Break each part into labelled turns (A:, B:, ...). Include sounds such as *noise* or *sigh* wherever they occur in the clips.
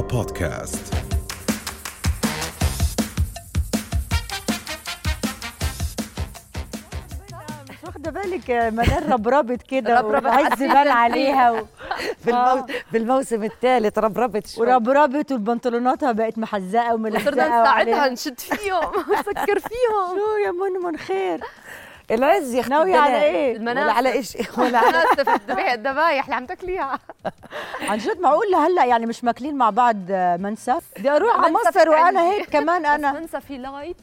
A: بودكاست
B: مش واخده بالك مدام ربربت كده
C: ربربت
B: وعايز
C: حسيت
B: زبال
C: إن
B: عليها و...
D: في الموسم
B: آه.
D: في الموسم الثالث ربربت شوي
B: وربربت والبنطلوناتها بقت محزقه
C: صرنا
B: وملزقه
C: نساعدها
B: وعليها-
C: نشد فيهم *laughs* نسكر فيهم
B: شو يا من من خير
D: العز يا
B: ناوية على إيه؟
D: ولا على ايش *laughs* ولا على
C: انا استفدت بها الذبايح اللي عم تاكليها
B: عن جد معقول هلا يعني مش ماكلين مع بعض منسف بدي اروح على
C: منسف
B: مصر وانا
C: *laughs* عندي.
B: هيك كمان انا
C: منسى في لايت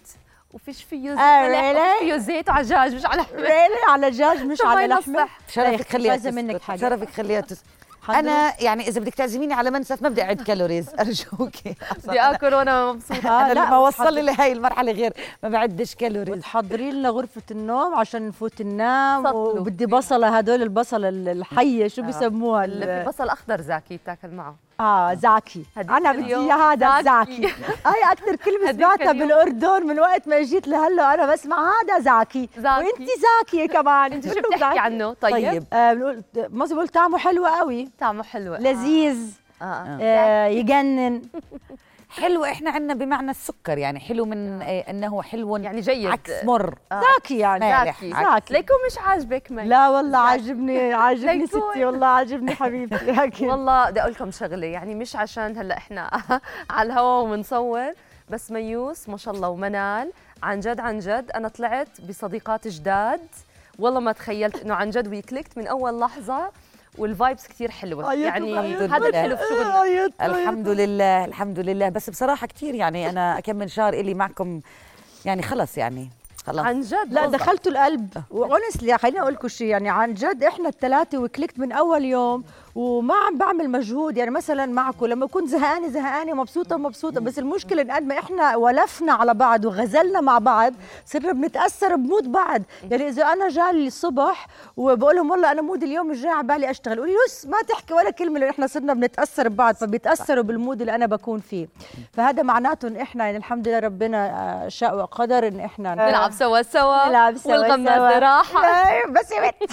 C: وفيش فيه
B: really؟
C: زبالة وفيه زيت وعجاج مش على
B: *laughs* ريلي إيه، على دجاج مش
C: *laughs* شو ما
B: على
C: ينصح.
B: لحمه
D: شرفك خليها
B: جايزة منك
D: تسكت.
B: حاجة.
D: شرفك خليها تسكت
B: حضرتك.
D: انا يعني اذا بدك تعزميني على منسف ما بدي اعد كالوريز *laughs* ارجوك
C: بدي اكل وانا مبسوطه
B: آه،
D: انا
B: لا،
D: لما وصل لي
B: وتحضر-
D: لهي المرحله غير ما بعدش كالوريز
B: وتحضري لنا غرفة النوم عشان نفوت ننام
C: سطلوا.
B: وبدي بصلة هدول البصلة الحية شو
C: آه.
B: بيسموها
C: اللي
B: ال-
C: في بصل اخضر زاكي تاكل معه
B: اه زعكي
C: هديك
B: انا بدي
C: اليوم
B: اياها هذا
C: زعكي.
B: زعكي
C: *laughs*
B: هاي اكثر كلمه
C: هديك
B: سمعتها
C: اليوم.
B: بالاردن من وقت ما جيت لهلا انا بسمع هذا زعكي
C: زاكي.
B: وانت زاكيه كمان
C: انت شو
B: كله
C: بتحكي
B: زعكي.
C: عنه طيب,
D: طيب.
B: آه بنقول ما بقول طعمه حلو قوي
C: طعمه حلو
B: لذيذ
C: آه. آه.
B: آه يجنن
D: حلو احنا عندنا بمعنى السكر يعني حلو من آه، انه حلو
C: يعني جيد آه.
D: عكس مر
B: زاكي يعني
D: مالح.
C: زاكي
B: زاكي.
C: ليكون مش عاجبك مي
B: لا والله عاجبني عاجبني
C: ليكون.
B: ستي والله عاجبني حبيبتي لكن
C: والله بدي اقول لكم شغله يعني مش عشان هلا احنا *laughs* على الهوا وبنصور بس ميوس ما شاء الله ومنال عن جد عن جد انا طلعت بصديقات جداد والله ما تخيلت انه عن جد وي كليكت من اول لحظه والفايبس كتير حلوه
B: أيوة،
C: يعني
B: أيوة.
C: هذا الحلو في شغلنا
B: عيطت-
D: الحمد
C: آه.
D: لله الحمد لله بس بصراحه كثير يعني انا كم من شهر الي معكم يعني خلص يعني خلص
C: عن جد
B: لا
C: والله.
B: دخلتوا القلب واونستلي خليني اقول لكم شيء يعني عن جد احنا الثلاثه وكليكت من اول يوم وما عم بعمل مجهود يعني مثلا معكم لما كنت زهقانه زهقانه مبسوطه مبسوطه بس المشكله ان قد ما احنا ولفنا على بعض وغزلنا مع بعض صرنا بنتاثر بمود بعض يعني اذا انا جالي الصبح وبقول لهم والله انا مود اليوم مش جاي على بالي اشتغل قولي يس ما تحكي ولا كلمه لان احنا صرنا بنتاثر ببعض فبيتاثروا بالمود اللي انا بكون فيه فهذا معناته ان احنا يعني الحمد لله ربنا آه، شاء وقدر ان احنا
C: نلعب سوا سوا
B: نلعب سوا
C: والغمازة
B: سوا.
C: راحة
B: لا، طيب، بس يا *laughs* بنت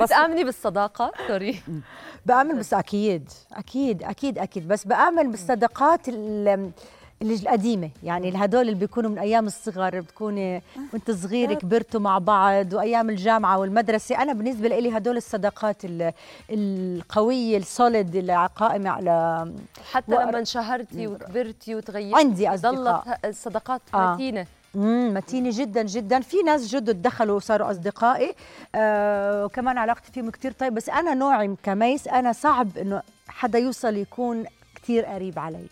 C: بتآمني بالصداقة سوري
B: بآمن بس أكيد أكيد أكيد أكيد بس بآمن بالصداقات ال- اللي القديمة يعني هدول اللي بيكونوا من أيام الصغر بتكوني وأنت صغير كبرتوا مع بعض وأيام الجامعة والمدرسة أنا بالنسبة لي هدول الصداقات ال- القوية السوليد اللي قائمة على
C: حتى
B: وأر-
C: لما انشهرتي وكبرتي وتغيرتي
B: عندي أصدقاء
C: ضلت الصداقات
B: آه.
C: متينة
B: امم متينه جدا جدا في ناس جدد دخلوا وصاروا اصدقائي آه وكمان علاقتي فيهم كتير طيب بس انا نوعي كميس انا صعب انه حدا يوصل يكون كتير قريب علي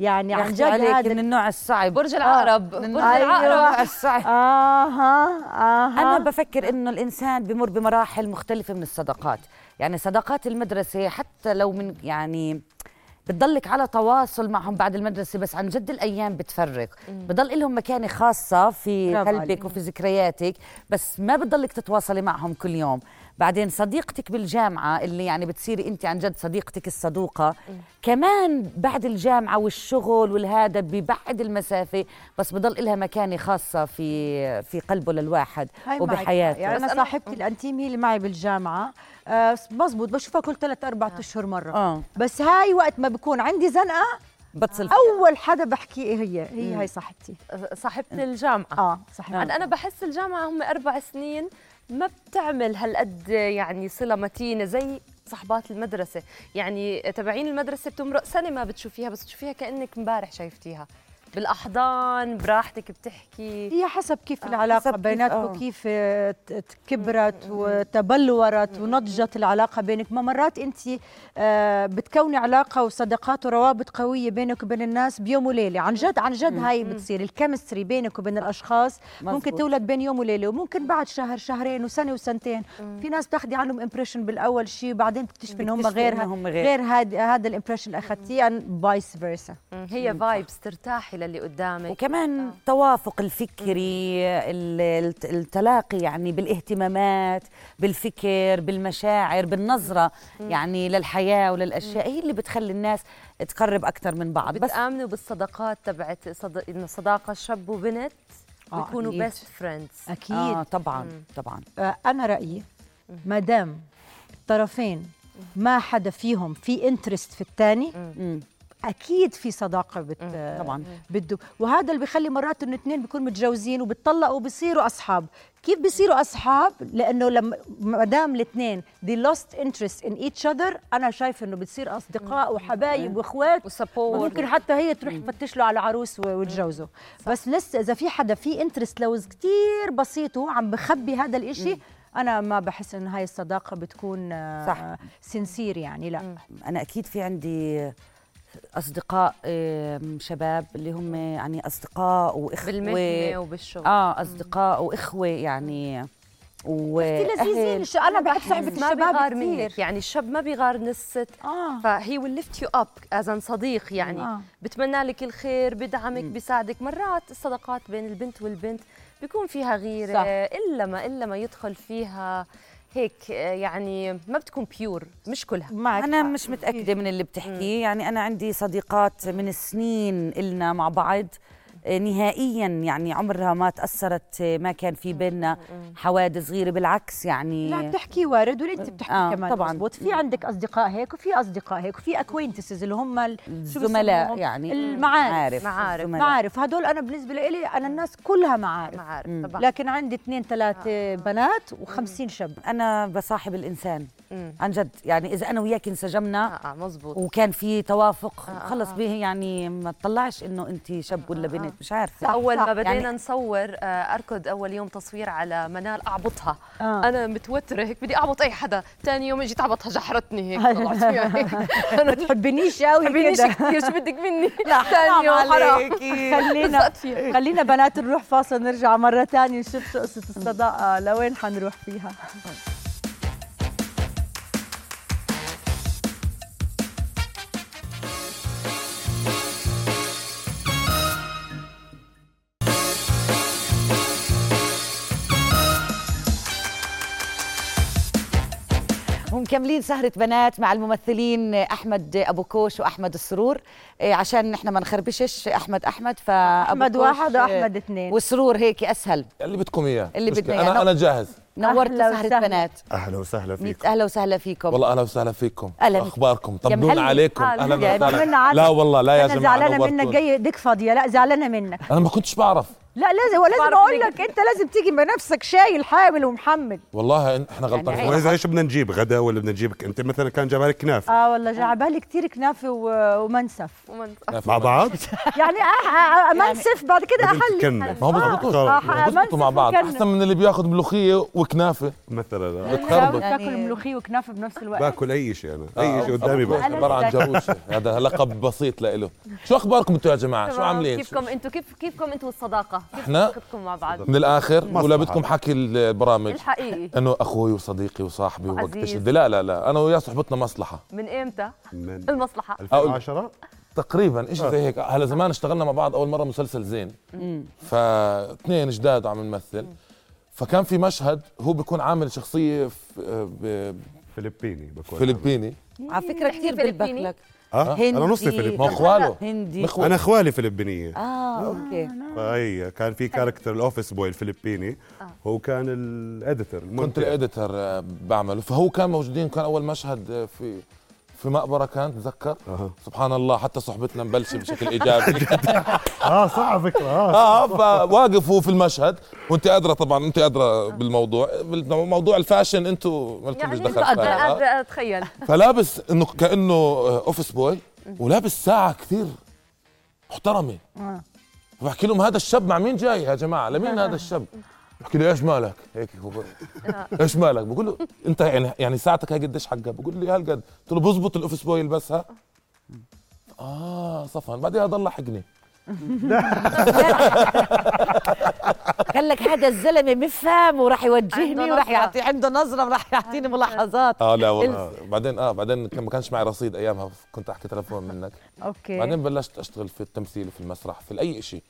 B: يعني
D: يا
B: عن
D: أختي
B: جد
D: عليك
B: هذا
D: من النوع الصعب آه،
C: برج العقرب
D: من
C: برج
D: النوع-
C: العقرب
D: النوع *laughs* الصعب
B: اها اها
D: أنا بفكر إنه الإنسان بمر بمراحل مختلفة من الصداقات، يعني صداقات المدرسة حتى لو من يعني بتضلك على تواصل معهم بعد المدرسة بس عن جد الأيام بتفرق، بضل لهم مكانة خاصة في
B: برافو
D: قلبك
B: عليك.
D: وفي ذكرياتك، بس ما بتضلك تتواصلي معهم كل يوم، بعدين صديقتك بالجامعة اللي يعني بتصيري أنت عن جد صديقتك الصدوقة، كمان بعد الجامعة والشغل والهذا ببعد المسافة بس بضل لها مكانة خاصة في في قلبه للواحد
B: هاي معك.
D: وبحياته
B: يعني
D: يعني
B: انا
C: بس أنا-
B: صاحبتي الانتيم هي اللي معي بالجامعه آه مزبوط بشوفها كل ثلاث اربع اشهر مره
D: آه.
B: بس هاي وقت ما بكون عندي زنقه
D: بتصل
B: اول حدا بحكيه هي هي هاي صاحبتي
C: آه، صاحبة الجامعة
B: اه صاحبتي
D: آه.
C: عاد انا بحس الجامعه هم اربع سنين ما بتعمل هالقد يعني صله متينه زي صحبات المدرسه يعني تبعين المدرسه بتمرق سنه ما بتشوفيها بس بتشوفيها كانك امبارح شايفتيها بالاحضان براحتك بتحكي
B: هي حسب كيف العلاقه
D: آه، حسب كيف-
B: بيناتكم
D: آه.
B: كيف آه، ت- ت- كبرت وتبلورت ونضجت العلاقه بينك ما مرات انت آه، بتكوني علاقه وصداقات وروابط قويه بينك وبين الناس بيوم وليله عن جد عن جد هاي بتصير الكيمستري بينك وبين الاشخاص ممكن
D: مزبوط.
B: تولد بين يوم وليله وممكن بعد شهر شهرين وسنه وسنتين في ناس بتاخدي عنهم امبريشن بالاول شيء بعدين بتكتشفي ان هم
D: بتكتشفي
B: غير
D: إنه هم غير.
B: غير هذا هذا الامبريشن اللي اخذتيه فايس فيرسا
C: هي فايبس ترتاحي للي قدامك
D: وكمان التوافق الفكري ال- الت- التلاقي يعني بالاهتمامات بالفكر بالمشاعر بالنظرة يعني للحياة وللأشياء هي اللي بتخلي الناس تقرب أكثر من بعض بس
C: بتامنوا بالصداقات تبعت صد... إنه صداقه شاب وبنت
B: آه،
C: بيكونوا
B: أكيد.
C: بيست فريندز
B: اكيد
D: آه طبعا طبعا
B: آه، انا رايي ما دام الطرفين ما حدا فيهم في انترست في الثاني اكيد في صداقه بت...
D: طبعاً.
B: بده وهذا اللي بخلي مرات انه اثنين بيكونوا متجوزين وبتطلقوا وبصيروا اصحاب كيف بصيروا اصحاب لانه لما ما دام الاثنين they lost interest in each other انا شايفه انه بتصير اصدقاء وحبايب واخوات
C: وسبورت
B: ممكن حتى هي تروح تفتش له على عروس و- وتجوزه بس لسه اذا في حدا في انترست لو كتير بسيط وهو عم بخبي هذا الاشي انا ما بحس ان هاي الصداقه بتكون
D: صح.
B: سنسير يعني لا
D: انا اكيد في عندي اصدقاء آم، شباب اللي هم يعني اصدقاء واخوه
C: بالمهنه وبالشغل
D: اه اصدقاء واخوه يعني
B: كتير لذيذين
D: واهل
B: الش- انا يعني، بحب صحبه
C: ما
B: الشباب
C: بيغار
B: كثير
C: منك يعني الشاب ما بيغار من الست
B: اه
C: فهي ويل ليفت يو اب از ان صديق يعني
B: آه.
C: آه. بتمنى لك الخير بدعمك بيساعدك مرات الصداقات بين البنت والبنت بيكون فيها غيره
D: صح.
C: صح. الا ما الا ما يدخل فيها هيك آه، يعني ما بتكون بيور مش كلها
B: معك
D: انا
B: حق.
D: مش متاكده من اللي بتحكيه يعني انا عندي صديقات من سنين إلنا مع بعض آه، نهائيا يعني عمرها ما تاثرت آه، ما كان في بيننا حوادث صغيره بالعكس يعني
B: لا بتحكي وارد واللي انت بتحكي
D: آه،
B: آه كمان
D: طبعاً.
B: طبعا مزبوط في عندك اصدقاء هيك وفي اصدقاء هيك وفي اكوينتسز اللي هم ال- شو
D: زملاء
B: بسموهم؟
D: يعني
B: المعارف
C: معارف.
D: زملاء.
B: معارف هدول انا بالنسبه لي انا الناس كلها معارف
C: معارف طبعا
B: لكن عندي اثنين ثلاثة بنات و50 شاب
D: انا بصاحب الانسان
C: مم.
D: عن جد يعني اذا انا وياك انسجمنا
B: آه.
C: اه اه مزبوط
D: وكان في توافق
C: آه،
D: خلص
C: آه.
D: به يعني ما تطلعش انه انت شاب
B: آه،
D: ولا بنت مش عارفه
C: اول
B: صح.
C: ما بدينا
D: *laughs* يعني-
C: يعني نصور آه، اركض اول يوم تصوير على منال اعبطها
B: آه.
C: آه. انا متوتره هيك بدي اعبط اي حدا ثاني يوم اجيت اعبطها جحرتني هيك *laughs* يعني طلعت فيها هيك انا
B: تحبنيش قوي
C: حبينيش
B: كده
C: كثير شو بدك *laughs* مني
D: لا
C: ثاني يوم حرام إيه.
B: خلينا
C: لزقت فيها
B: خلينا بنات نروح فاصل نرجع مرة تانية نشوف شو قصة الصداقة لوين حنروح فيها
D: ومكملين سهرة بنات مع الممثلين أحمد أبو كوش وأحمد السرور إيه، عشان نحن ما نخربشش أحمد أحمد فأبو
B: أحمد
D: كوش،
B: واحد
D: إيه،
B: وأحمد اثنين
D: وسرور هيك أسهل
A: اللي بدكم اياه
D: اللي
A: مشكلة.
D: بدنا إياه.
A: انا
D: نو-
A: انا جاهز
D: نورت
B: أهلا
D: سهرة
B: وسهلا.
D: بنات
A: اهلا وسهلا
D: ميت
A: فيكم
D: أهلا وسهلا فيكم
A: والله اهلا وسهلا فيكم
D: أهلا.
A: اخباركم
D: يا
A: طمنونا
D: مهلي.
A: عليكم
C: أهلا.
A: اهلا
D: يا
B: مهلي
A: وسهلا
B: عليك.
A: لا والله لا يا
B: آه، أنا
A: جماعة
B: زعلانة منك
A: نورتوني.
B: جاي ايدك فاضية لا زعلانة منك
A: انا ما كنتش بعرف
B: لا لازم ولازم
C: بعرف
B: أقول
C: إنك-
B: لك أنت لازم تيجي بنفسك شايل حامل ومحمل
A: والله إن- احنا
B: يعني
A: غلطانين
D: عيب.
A: وإذا-
E: واذا ايش بدنا نجيب غدا ولا بدنا نجيبك انت مثلا كان جمالك كنافه
B: اه والله جا على بالي كثير كنافه و- ومنسف
C: ومن-
E: مع
D: *laughs*
E: بعض
B: يعني أح- أ- أ- منسف بعد كده
E: بدل
B: احلي
E: تكمل.
A: ما هو بيضبطوش
B: آه، آه،
A: بيضبطوا مع
B: منسف
A: بعض
B: وكنف.
A: احسن من اللي بياخذ ملوخيه وكنافه
E: مثلا آه.
A: بتخربط
B: لا، تاكل
D: يعني-
B: ملوخيه وكنافه بنفس الوقت
E: باكل اي شيء انا
A: آه،
E: اي شيء قدامي
A: أبو كوش
E: باكل
B: أنا-
A: عبارة عن جروشه هذا لقب بسيط لإله شو اخباركم انتوا يا جماعه شو
C: تمام.
A: عاملين
C: كيفكم انتم كيف كيفكم انتم والصداقه كيف
A: إحنا؟
C: علاقتكم مع بعض
A: من الاخر
E: مصلحة.
A: ولا بدكم حكي البرامج
C: الحقيقي
A: انه اخوي وصديقي وصاحبي
C: وعزيز.
A: ووقت بدي لا لا لا انا ويا صاحبتنا مصلحه
C: من امتى
E: من
C: المصلحه
E: 2010
A: تقريبا شيء زي هيك هلا زمان اشتغلنا مع بعض اول مره مسلسل زين فاثنين جداد عم نمثل فكان في مشهد هو بيكون عامل شخصيه ف- ب-
E: فلبيني باكل
A: فلبيني
D: على فكرة
C: إحكي
D: كثير
C: فلبيني.
D: بالبخلك
E: اه انا نصي
D: آه. هندي.
E: فلبيني
A: ما هو
D: *laughs*
A: اخواله
D: هندي
A: مخو-
E: انا اخوالي فلبينيه
D: آه أوكي
E: اي كان في كاركتر الاوفيس بوي الفلبيني
D: آه.
E: هو كان الاديتور
A: كنت الاديتر بعمله فهو كان موجودين كان اول مشهد آه، في في مقبره كان تذكر
E: أها.
A: سبحان الله حتى صحبتنا مبلشه بشكل ايجابي
E: اه صعب فكره
A: *laughs*
E: اه
A: اه فواقف هو في المشهد وانت ادرى طبعا انت ادرى بالموضوع موضوع الفاشن انتوا ما لكمش
C: يعني
A: دخل
C: أنا
A: فيها.
C: قادرة
A: *laughs*
C: اتخيل
A: فلابس انه كانه آه، اوفيس بوي ولابس ساعه كثير محترمه فبحكي لهم هذا الشاب مع مين جاي يا جماعه لمين هذا الشب بحكي له ايش مالك هيك هو بقول- ايش مالك بقول له انت يعني يعني ساعتك هاي قديش حقها بقول لي هالقد قلت له بزبط الاوفيس بوي يلبسها اه صفن بعدها ضل حقني
D: قال لك هذا الزلمه مفهم وراح
C: عنده
D: يوجهني وراح
C: نظرة.
D: يعطي عنده نظرة وراح يعطيني ملاحظات
A: اه لا والله بعدين اه بعدين كان ما كانش معي رصيد ايامها كنت احكي تلفون منك
B: اوكي
A: بعدين بلشت اشتغل في التمثيل في المسرح في اي شيء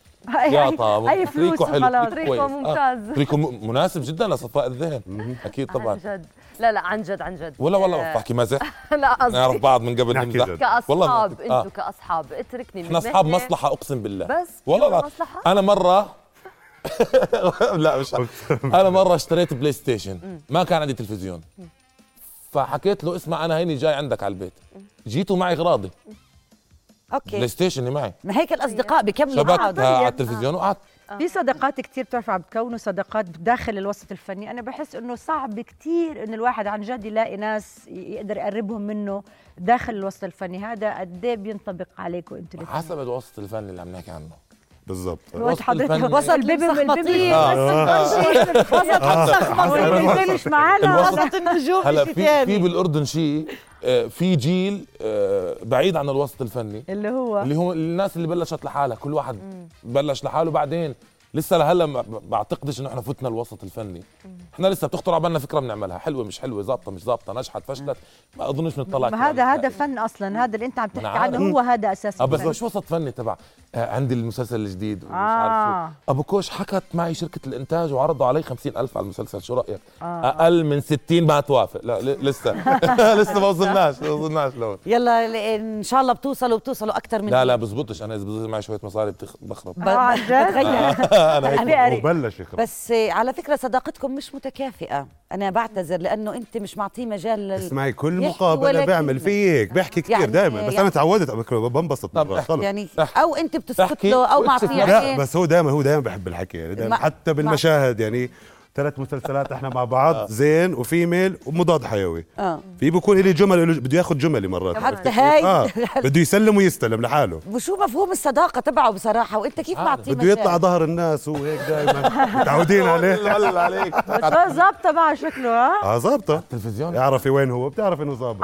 B: اي
A: ياطا
B: أي فلوس
A: تريكو حلو
B: وخلاص
C: تريكو
A: كويس. آه،
C: ممتاز.
A: تريكو م- مناسب جدا لصفاء الذهن اكيد
C: عن
A: طبعا
C: جد لا لا عن جد عن جد
A: ولا والله
C: آه،
A: بحكي مزح
C: *laughs* لا
A: نعرف
C: قصدي
A: بعض من قبل
E: نحكي
A: نمزح
E: جد.
A: والله
C: كاصحاب
A: بنحكي. آه.
C: انتوا كاصحاب اتركني من
A: احنا اصحاب
C: مهنة.
A: مصلحه اقسم بالله
C: بس
A: والله
C: يلا
A: لا.
C: مصلحة.
A: انا
E: *laughs*
A: مره لا مش انا مره اشتريت بلاي ستيشن ما كان عندي تلفزيون فحكيت له اسمع انا هيني جاي عندك على البيت جيته معي غراضي بلاي
D: اوكي
A: ستيشن اللي معي
D: ما هيك الاصدقاء بكملوا بعض
A: شبكتها على التلفزيون وقعدت
B: في صداقات كتير بتعرفوا عم تكونوا صداقات داخل الوسط الفني انا بحس انه صعب كتير انه الواحد عن جد يلاقي ناس يقدر يقربهم منه داخل الوسط الفني هذا قد ايه بينطبق عليكم انتوا
A: حسب الوسط الفني اللي عم نحكي عنه
E: بالضبط
B: الوسط
A: الوسط الفني. آه.
B: حضرتك وصل بيبي من البيبي وصل معنا
A: الوسط.
F: وسط النجوم
A: هلا
F: شيء
A: آه. في في
F: ثاني
A: بالاردن شيء آه، في جيل آه، بعيد عن الوسط الفني
B: اللي هو
A: اللي هو الناس اللي بلشت لحالها كل واحد بلش لحاله بعدين لسه لهلا ما ما بعتقدش انه احنا فتنا الوسط الفني احنا لسه بتخطر على بالنا فكره بنعملها حلوه مش حلوه ظابطه مش ظابطه نجحت فشلت ما اظنش بنطلع
B: ما
A: كتير
B: هذا
A: على
B: هذا
A: الفني.
B: فن اصلا هذا اللي انت عم تحكي
A: عارف.
B: عنه هو هذا اساس
A: اه بس
B: الفن.
A: مش وسط فني تبع آه، عندي المسلسل الجديد ومش
B: آه.
A: عارف شو. ابو كوش حكت معي شركه الانتاج وعرضوا علي 50000 على المسلسل شو رايك آه. اقل من 60 ما توافق لا ل- لسه *laughs* لسه ما وصلناش ما وصلناش لهون
D: يلا ل- ان شاء الله بتوصلوا بتوصلوا اكثر من
A: لا لا بزبطش انا اذا بزبط معي شويه مصاري بتخ-
B: *laughs*
A: بخرب
D: ب-
B: آه، عن جد
A: انا هيك
B: أنا قريب.
E: وبلش يخرب
D: بس آه، على فكره صداقتكم مش متكافئه انا بعتذر لانه انت مش معطيه مجال لل...
E: اسمعي كل
D: يحكي
E: مقابله
D: ولا
E: بعمل
D: كلمة.
E: فيه هيك بحكي كثير
D: يعني-
E: دائما بس
D: يعني-
E: انا تعودت على فكرة، بنبسط
A: طب
E: منه،
A: احكي.
E: خلص.
D: يعني
A: احكي.
D: او انت بتسكت
A: احكي
D: له او معطيه
A: واكتب.
E: لا
D: يعني
E: بس هو دائما هو دائما بحب الحكي يعني دايما
D: ما-
E: حتى بالمشاهد يعني ثلاث مسلسلات احنا مع بعض زين وفيميل ومضاد حيوي
D: آه.
E: في بكون لي جمل إله- بده ياخذ جملي مرات
D: حتى هاي.
E: اه بده يسلم ويستلم لحاله
D: وشو مفهوم الصداقه تبعه بصراحه وانت كيف
A: آه،
D: معطيه
E: بده يطلع
D: مجال
E: ظهر الناس وهو هيك دائما متعودين عليه
A: هلا عليك
B: آه، ظابطه مع شكله ها
E: اه ظابطه
A: التلفزيون
E: اعرفي وين هو بتعرف انه ظابط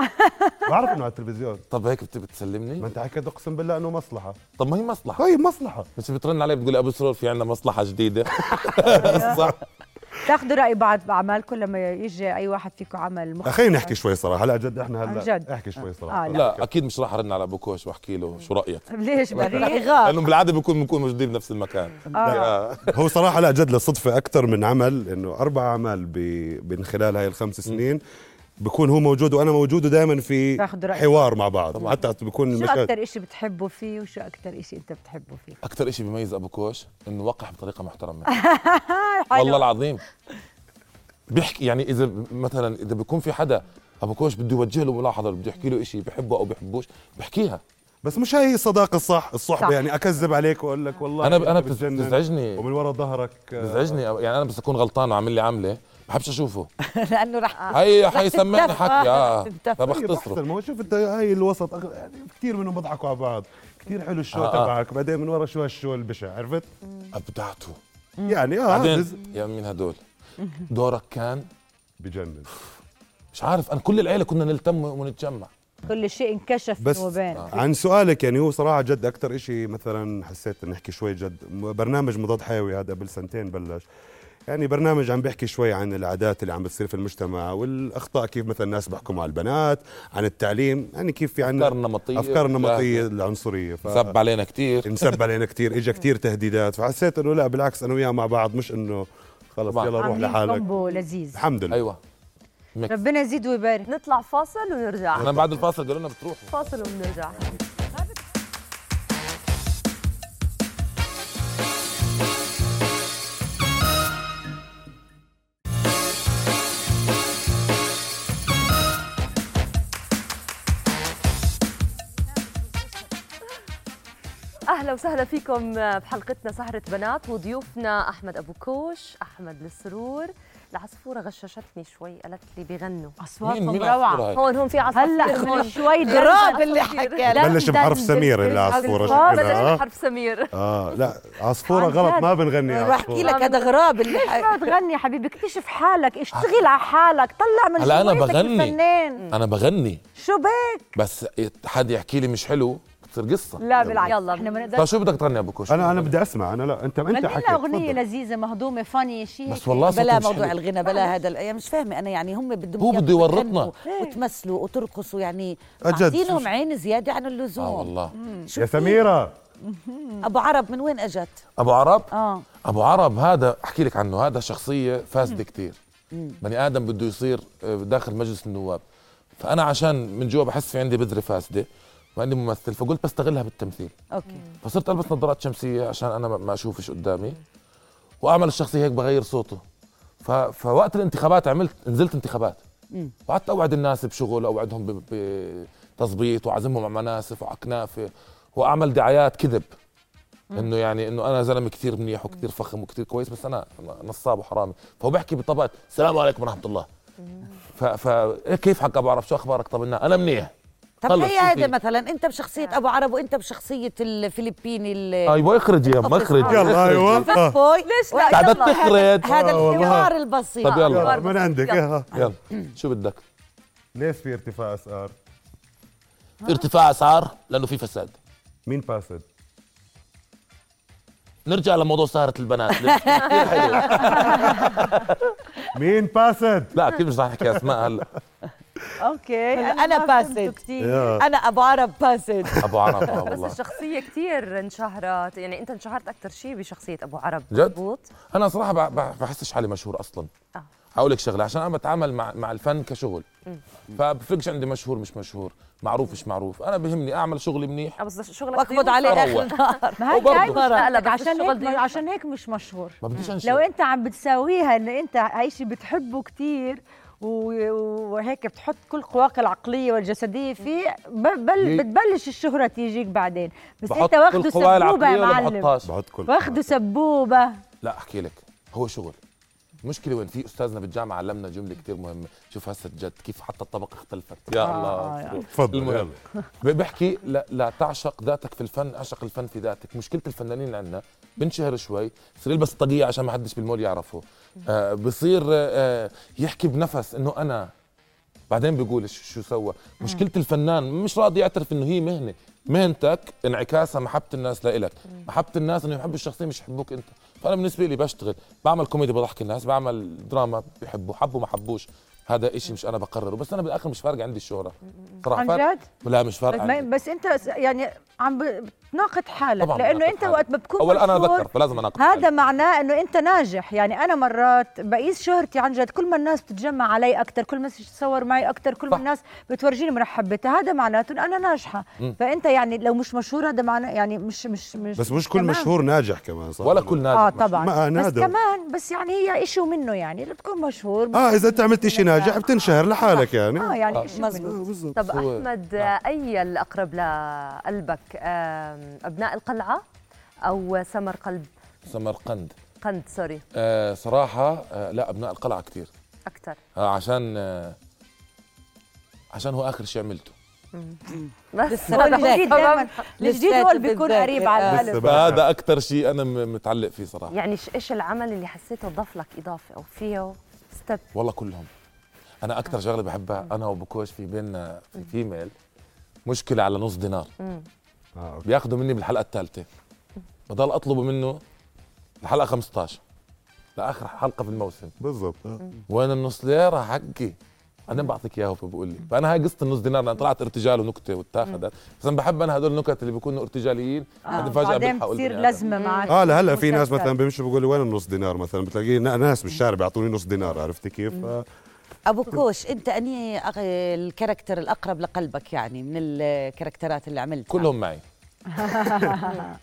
E: بعرف انه على التلفزيون
A: طب هيك بت-
E: ما
A: بتسلمني
E: انت حكيت اقسم بالله انه مصلحه
A: طب ما هي مصلحه
E: طيب مصلحه
A: بس بترن علي بتقول ابو سرور في عندنا مصلحه جديده صح
B: تاخذوا راي بعض باعمالكم لما يجي اي واحد فيكم عمل مختلف
E: خلينا نحكي شوي صراحه لا جد احنا
B: عن
E: هلا
B: جد.
E: احكي شوي
B: آه،
E: صراحه
B: لا.
A: *laughs* لا اكيد مش راح ارن على ابو كوش واحكي له شو رايك
E: *laughs*
B: ليش بريء
D: يغار
A: لانه بالعاده بيكون بنكون موجودين بنفس المكان آه.
E: هو صراحة لا جد للصدفة أكثر من عمل إنه أربع أعمال ب- من خلال هاي الخمس سنين بكون هو موجود وأنا موجود ودائما في
B: تاخد رأيه.
E: حوار مع بعض حتى بكون
B: شو
E: المشاهد
B: اكثر شيء بتحبوا فيه وشو اكثر شيء انت بتحبه فيه
A: اكثر شيء بيميز ابو كوش انه وقح بطريقه محترمه والله العظيم بيحكي يعني اذا ب- مثلا اذا بيكون في حدا ابو كوش بده يوجه له ملاحظه بده يحكي له شيء بحبه او بحبوش بحكيها
E: بس مش هاي الصداقة الصح الصحبة
B: صح.
E: يعني أكذب عليك وأقول لك والله
A: انا ب- انا
E: أنت
A: بتز-
E: بتجنن
A: بتزعجني
E: ومن ورا ظهرك آه،
A: بتزعجني أو- يعني انا بس اكون غلطان وعامل لي عمله بحبش اشوفه
D: لانه
B: آه،
D: رح
A: هي حيسمعني
D: تتفق.
A: حكي اه
D: تتفق.
E: طيب
A: فبختصره
E: احسن ما هو شوف انت هاي الوسط أغ- يعني كثير منهم بضحكوا على بعض كثير حلو الشو
A: آه، آه.
E: تبعك بعدين من ورا شو هالشو البشع عرفت؟
A: ابدعته
E: يعني اه بز-
A: بعدين يا مين هدول دورك كان
E: بجنن
A: مش عارف انا كل العيله كنا نلتم ونتجمع
B: كل شيء انكشف
E: بس
B: وبين
A: آه.
E: عن سؤالك يعني هو صراحه جد اكثر شيء مثلا حسيت نحكي شوي جد م- برنامج مضاد حيوي هذا قبل سنتين بلش يعني برنامج عم بيحكي شوي عن العادات اللي عم بتصير في المجتمع والاخطاء كيف مثلا الناس بيحكموا على البنات عن التعليم يعني كيف في عنا
A: أفكار نمطية.
E: افكار نمطيه العنصريه ف...
A: سب علينا كثير
E: انسب علينا كثير اجى كثير تهديدات فحسيت انه لا بالعكس انا وياه مع بعض مش انه خلص
A: طبعاً.
E: يلا روح
B: عاملين
E: لحالك
B: كومبو لذيذ
E: الحمد لله
A: ايوه
B: ربنا يزيد ويبارك
C: نطلع فاصل ونرجع
A: احنا بعد الفاصل قالوا لنا بتروحوا
C: فاصل ونرجع اهلا وسهلا فيكم بحلقتنا سهرة بنات وضيوفنا احمد ابو كوش، احمد السرور، العصفورة غششتني شوي قالت لي بيغنوا
A: مين
B: اصواتهم
A: مين
B: روعه
A: العصفورة هاي؟
C: هون هون في عصفورة
B: هلا
C: *laughs*
B: من شوي
F: غراب اللي حكى لك
E: بلش بحرف سمير العصفورة شكلها
C: بلش
E: آه.
C: بحرف سمير
E: اه لا عصفوره غلط ما بنغني
D: بحكي
E: عصفوره
D: لك هذا غراب اللي حكى
B: اقعد غني يا حبيبي اكتشف حالك اشتغل على حالك طلع من
A: هلا أنا
B: جواتك
A: بغني.
B: الفنان
A: انا بغني
B: شو بك
A: بس حد يحكي لي مش حلو بتصير قصه
B: لا بالعكس
C: يلا.
B: احنا ما
A: طب
B: نقدرش
A: شو بدك تغني يا ابو كوش
E: انا انا بدي اسمع انا لا انت انت
B: غني
E: حكيت
B: لنا اغنيه
E: تفضل.
B: لزيزه مهضومه فاني شيء
A: بس
B: هيك.
A: والله صوتي
D: بلا
A: مش
D: موضوع
A: حلو.
D: الغنى بلا هذا الأيام مش فاهمه انا يعني هم بدهم
A: هو
D: إياكم
A: بده يورطنا.
D: تغنوا وتمثلوا وترقصوا يعني
E: أجد.
D: عاطينهم عين زياده عن اللزوم
A: اه والله
E: يا سميره
D: ابو عرب من وين اجت؟
A: ابو عرب
D: اه
A: ابو عرب هذا احكي لك عنه هذا شخصيه فاسده كثير بني ادم بده يصير آه، داخل مجلس النواب فانا عشان من جوا بحس في عندي بذره فاسده وعندي ممثل فقلت بستغلها بالتمثيل
D: اوكي
A: فصرت البس نظارات شمسيه عشان انا ما- ما اشوفش قدامي واعمل الشخصيه هيك بغير صوته ف... فوقت الانتخابات عملت نزلت انتخابات وقعدت اوعد الناس بشغل اوعدهم ب- بتظبيط واعزمهم على مناسف وعلى كنافه واعمل دعايات كذب انه يعني انه انا زلمه كثير منيح وكثير فخم وكثير كويس بس انا نصاب وحرامي فهو بحكي بطبقه السلام عليكم ورحمه الله ف, ف... إيه كيف حكى بعرف شو اخبارك طمنا انا منيح
D: طب
A: طلع
D: هي
A: شو
D: هذا
A: في.
D: مثلا انت بشخصيه ابو عرب وانت بشخصيه الفلبيني ال-
A: ايوه اخرج يا ما اخرج
E: يلا
A: اخرج.
E: ايوه آه.
D: فوي
C: ليش لا؟
D: وهذا-
A: قعدت تخرج.
D: هذا
E: آه، والله.
D: الحوار البسيط
A: طب يلا.
E: يلا من عندك آه.
A: يلا شو بدك
E: ليش في ارتفاع اسعار؟
A: آه. ارتفاع اسعار لانه في فساد
E: مين فاسد؟
A: نرجع لموضوع سهرة البنات ليش؟ كثير حلو
E: مين فاسد؟
A: لا كيف مش رح احكي اسماء هلا
B: اوكي
D: أنا
B: ما
D: باسد.
B: فهمته كتير.
E: يا.
D: انا ابو عرب باسد
A: ابو عرب آه
C: بس
A: والله
C: الشخصية كثير انشهرت يعني انت انشهرت اكثر شيء بشخصية ابو عرب
A: جد؟
C: مزبوط؟
A: انا صراحه بح- بح- بحسش حالي مشهور اصلا
C: آه.
A: هقول لك شغله عشان انا بتعامل مع مع الفن كشغل فبفرقش عندي مشهور مش مشهور معروف مش معروف انا بهمني اعمل شغلي منيح
C: اه بس شغلك
D: واقبض
C: ضيوف
D: عليه
C: صار.
D: اخر النهار
B: ما هي
A: وبرضه.
B: هاي
C: لا، لا،
B: مشكلتك
C: بس
B: عشان
C: الشغل
B: هيك
C: ضيوف.
B: عشان هيك مش مشهور
A: ما بديش انشر
B: لو إيه، انت عم بتساويها انه انت هاي شيء بتحبه كثير وهيك بتحط كل قواك العقليه والجسديه فيه ب- بل
A: يي.
B: بتبلش الشهره تيجيك بعدين بس
A: بحط
B: انت
A: كل
B: واخده
A: قواي
B: سبوبه
A: العقليه
B: يا
A: ولا
B: معلم
A: بحطهاش
E: بحط كل
B: واخده سبوبه
A: لا احكي لك هو شغل المشكله وين في استاذنا بالجامعه علمنا جمله كثير مهمه شوف هسه جد كيف حتى الطبقه اختلفت آه، يا الله
E: تفضل
A: المهم.
E: يلا
A: ب- بحكي لا, لا تعشق ذاتك في الفن اعشق الفن في ذاتك مشكله الفنانين عندنا بنشهر شوي بصير يلبس طاقيه عشان ما حدش بالمول يعرفه آه بصير آه آه، يحكي بنفس انه انا بعدين بيقول ش- شو سوى مشكله الفنان مش راضي يعترف انه هي مهنه مهنتك انعكاسها محبه الناس لإلك محبه الناس انه يحبوا الشخصيه مش يحبوك انت فانا بالنسبه لي بشتغل بعمل كوميدي بضحك الناس بعمل دراما بيحبوا حبوا ما حبوش هذا إشي مش انا بقرره بس انا بالاخر مش فارق عندي الشهره صراحه
B: عن
A: فارق-
B: جد؟
A: لا مش فارق
B: بس,
A: عندي.
B: ما- بس انت س- يعني عم ب- بتناقض حالك
A: طبعاً
B: لانه
A: بناقض
B: انت
A: حالي.
B: وقت ما بتكون
A: اول انا
B: مشهور،
A: ذكر فلازم اناقض
B: هذا معناه انه انت ناجح يعني انا مرات بقيس شهرتي عن جد كل ما الناس بتتجمع علي اكثر كل ما الناس بتتصور معي اكثر كل ما
A: صح.
B: الناس بتورجيني من حبتها هذا معناته إنه انا ناجحه فانت يعني لو مش مشهور هذا معناه يعني مش مش مش
E: بس مش كل
B: تمام.
E: مشهور ناجح كمان صح؟
A: ولا كل
B: اه
A: نادي
B: طبعا
E: ما
B: بس
E: نادر.
B: كمان بس يعني هي شيء منه يعني اللي بتكون مشهور بس-
E: اه اذا انت عملت شيء ناجح بتنشهر لحالك يعني
B: اه
E: آه،
B: يعني شيء منه
E: بالضبط
C: *laughs* طب
A: هو-
C: احمد
A: نعم.
C: اي الاقرب لقلبك آم، ابناء القلعه او سمر قلب
A: سمرقند
C: قند سوري
A: آه صراحه آه لا ابناء القلعه كثير
C: اكثر
A: آه عشان آه عشان هو اخر شيء عملته
C: بس
B: هو
C: هذا
B: الجديد
C: هو-
B: دايما الجديد هو اللي
D: لساته
B: بيكون
D: بالذاكرة.
B: قريب على القلب
E: لسه بقى.
A: فهذا اكثر شيء انا م- متعلق فيه صراحه
C: *laughs*
B: نعم.
C: يعني ش- ايش العمل اللي حسيته ضاف لك اضافه او فيه ستيب
A: والله كلهم انا اكثر شغله بحبها انا وبكوش في بيننا في فيميل مشكله على نص دينار
E: آه، أوكي.
A: بياخذوا مني بالحلقه الثالثه بضل اطلبه منه الحلقه 15 لاخر حلقه في الموسم
E: بالضبط آه.
A: وين النص ليره حقي انا بعطيك اياه فبقول لي فانا هاي قصه النص دينار لأن طلعت ارتجال ونكته واتاخذت بس انا بحب انا هدول النكت اللي بيكونوا ارتجاليين بعدين فجاه
B: آه، بعدين
A: بيلحقوا
B: بتصير
A: البني آدم.
B: لازمه معك
E: اه لهلا في ناس
B: مسلسل.
E: مثلا بيمشوا بيقولوا وين النص دينار مثلا بتلاقيه نا- ناس بالشارع بيعطوني نص دينار عرفتي كيف؟ آه،
D: ابو كوش انت اني أغ- الكاركتر الاقرب لقلبك يعني من الكاركترات اللي عملتها
A: كلهم معي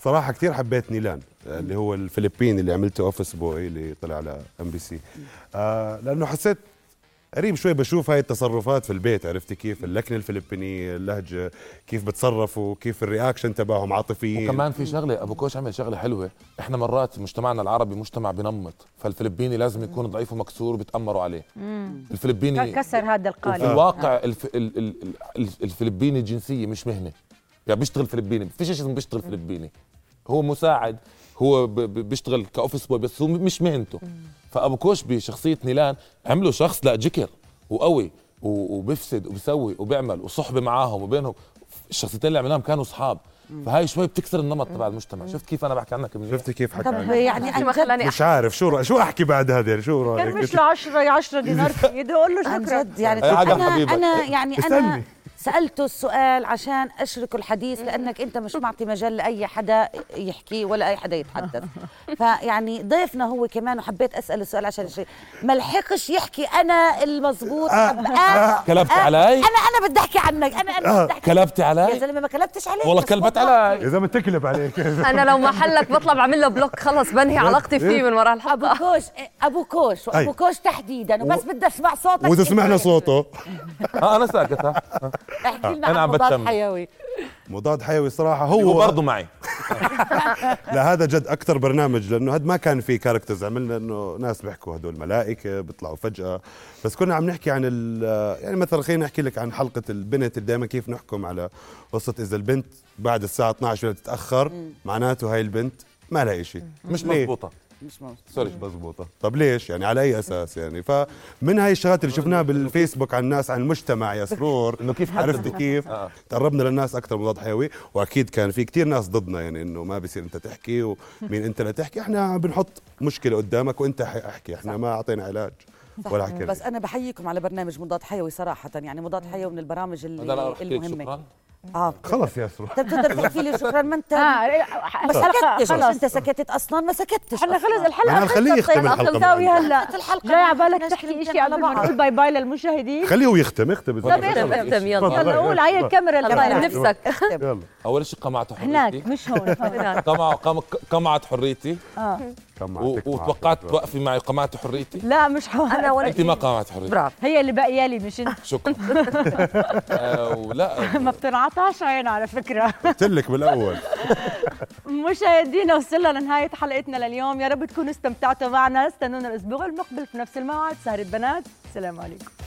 E: صراحه كثير حبيت نيلان آه، اللي هو الفلبيني اللي عملته اوفيس بوي اللي طلع على ام بي سي لانه آه، حسيت قريب شوي بشوف هاي التصرفات في البيت عرفتي كيف اللكنه الفلبينيه اللهجه كيف بتصرفوا كيف الرياكشن تبعهم عاطفيين
A: وكمان في شغله ابو كوش عمل شغله حلوه احنا مرات مجتمعنا العربي مجتمع بنمط فالفلبيني لازم يكون ضعيف ومكسور بتامروا عليه الفلبيني
B: كسر هذا
A: وفي
B: القالب
A: الواقع
D: آه.
A: الف... ال... ال... ال- ال- الفلبيني جنسيه مش مهنه يعني بيشتغل فلبيني ما فيش شيء اسمه بيشتغل فلبيني هو مساعد هو ب... ب- بيشتغل كاوفيس بوي بس هو مش مهنته فابو كوش بشخصيه نيلان عمله شخص لا جكر وقوي و... وبيفسد وبيسوي وبيعمل وصحبه معاهم وبينهم الشخصيتين اللي عملناهم كانوا اصحاب فهاي شوي بتكسر النمط تبع المجتمع شفت كيف انا بحكي عنك منيح
E: شفتي كيف حكى
D: طب
E: عنها؟
D: يعني
C: ما
D: عن جد
C: خلاني
E: مش عارف شو رأ... شو احكي بعد هذا يعني؟ شو رايك *laughs*
B: كان مش 10 10 دينار في ايده قول له
D: عن
B: شكرا
D: جد يعني
A: يا عجب
D: انا
A: حبيبك.
D: انا يعني انا
E: استني.
D: سالته السؤال عشان اشرك الحديث لانك انت مش معطي مجال لاي حدا يحكي ولا اي حدا
E: *laughs*
D: يتحدث فيعني ضيفنا هو كمان وحبيت اساله السؤال عشان أشرك. ما لحقش يحكي انا المزبوط
E: آه.
D: طب أنا-
A: كلبت
D: آه، أنا-
A: آه. علي؟
D: انا انا بدي احكي عنك انا
E: آه.
D: انا بدي احكي
A: كلبت
D: يا
A: علي
D: زلمه ما كلبتش عليك
A: والله
D: بس
A: كلبت
D: وضحت.
A: علي
E: يا زلمه تكلب عليك
C: انا لو محلك بطلع بعمل له بلوك خلص بنهي علاقتي فيه من ورا
D: ابو
C: *laughs* الحلقه
D: كوش ابو كوش
E: أي.
D: وابو كوش تحديدا وبس
E: و-
D: بدي اسمع صوتك
E: واذا سمعنا صوته
A: ها انا آه، ساكت ها
D: احكي لنا
A: أنا
D: عن
A: عم
D: مضاد
A: بتشمل.
D: حيوي
E: مضاد حيوي صراحه هو
A: هو برضه معي
E: لا هذا جد اكثر برنامج لانه هذا ما كان فيه كاركترز عملنا انه ناس بيحكوا هدول ملائكه بيطلعوا فجاه بس كنا عم نحكي عن ال- يعني مثلا خلينا نحكي لك عن حلقه البنت اللي دائما كيف نحكم على قصه اذا البنت بعد الساعه 12 بدها تتاخر معناته هاي البنت ما لها شيء
A: مش
E: ليه؟
A: مزبوطه
D: مش موجود
A: سوري
E: مش مزبوطة طب ليش يعني على اي اساس يعني فمن هاي الشغلات اللي شفناها بالفيسبوك عن الناس عن المجتمع يا سرور
A: إنه كيف
E: عرفتي
A: حددوا.
E: كيف
A: آه.
E: تقربنا للناس اكثر مضاد حيوي واكيد كان في كتير ناس ضدنا يعني انه ما بصير انت تحكي ومين انت لا تحكي احنا بنحط مشكله قدامك وانت حاحكي احنا ما اعطينا علاج ولا حكينا
D: بس انا بحييكم على برنامج مضاد حيوي صراحه يعني مضاد حيوي من البرامج
A: هذا
D: اللي
A: انا رح احكي لك
D: المهمه
A: شكرا
D: اه
E: خلص يا سرور
D: طب بتقدر تحكي لي شكرا ما انت
B: آه،
D: ما
B: حلقة-
D: سكتش
B: خلص
D: انت سكتت اصلا ما سكتش
B: هلا خلص الحلقه
E: أنا خليه
B: خلصت.
E: يختم
B: أخ
E: الحلقة
B: الزاوية
E: بعد.
B: هلا
D: خلصت الحلقة.
B: جاي على بالك
D: بدناش
B: تحكي
D: نمتن
B: شيء
D: على
B: قبل ما
D: بعض.
B: نقول باي باي للمشاهدين
E: خليه هو يختم اختم
B: طب
E: تفضل.
A: اختم.
C: اختم يلا
E: تفضل.
B: يلا قول هاي الكاميرا اللي
C: يلا
B: طالعة.
C: من نفسك *laughs*
E: يلا
A: اول شيء قمعت حريتي
B: هناك مش هون *laughs*
C: هناك.
A: قمع قم- قمعت حريتي
E: كم
A: و-
E: عندك معك.
A: وتوقعت توقفي معي قمعت حريتي
B: لا مش هون
C: انا ولا
A: انت ما قمعت حريتي
C: برافو
B: هي اللي باقيه لي مش انت
A: شكرا آه، ولا
B: ما بتنعطاش عين على فكره
E: قلت لك بالاول
B: مشاهدينا وصلنا لنهاية حلقتنا لليوم يا رب تكونوا استمتعتوا معنا استنونا الأسبوع المقبل في نفس الموعد سهرة بنات سلام عليكم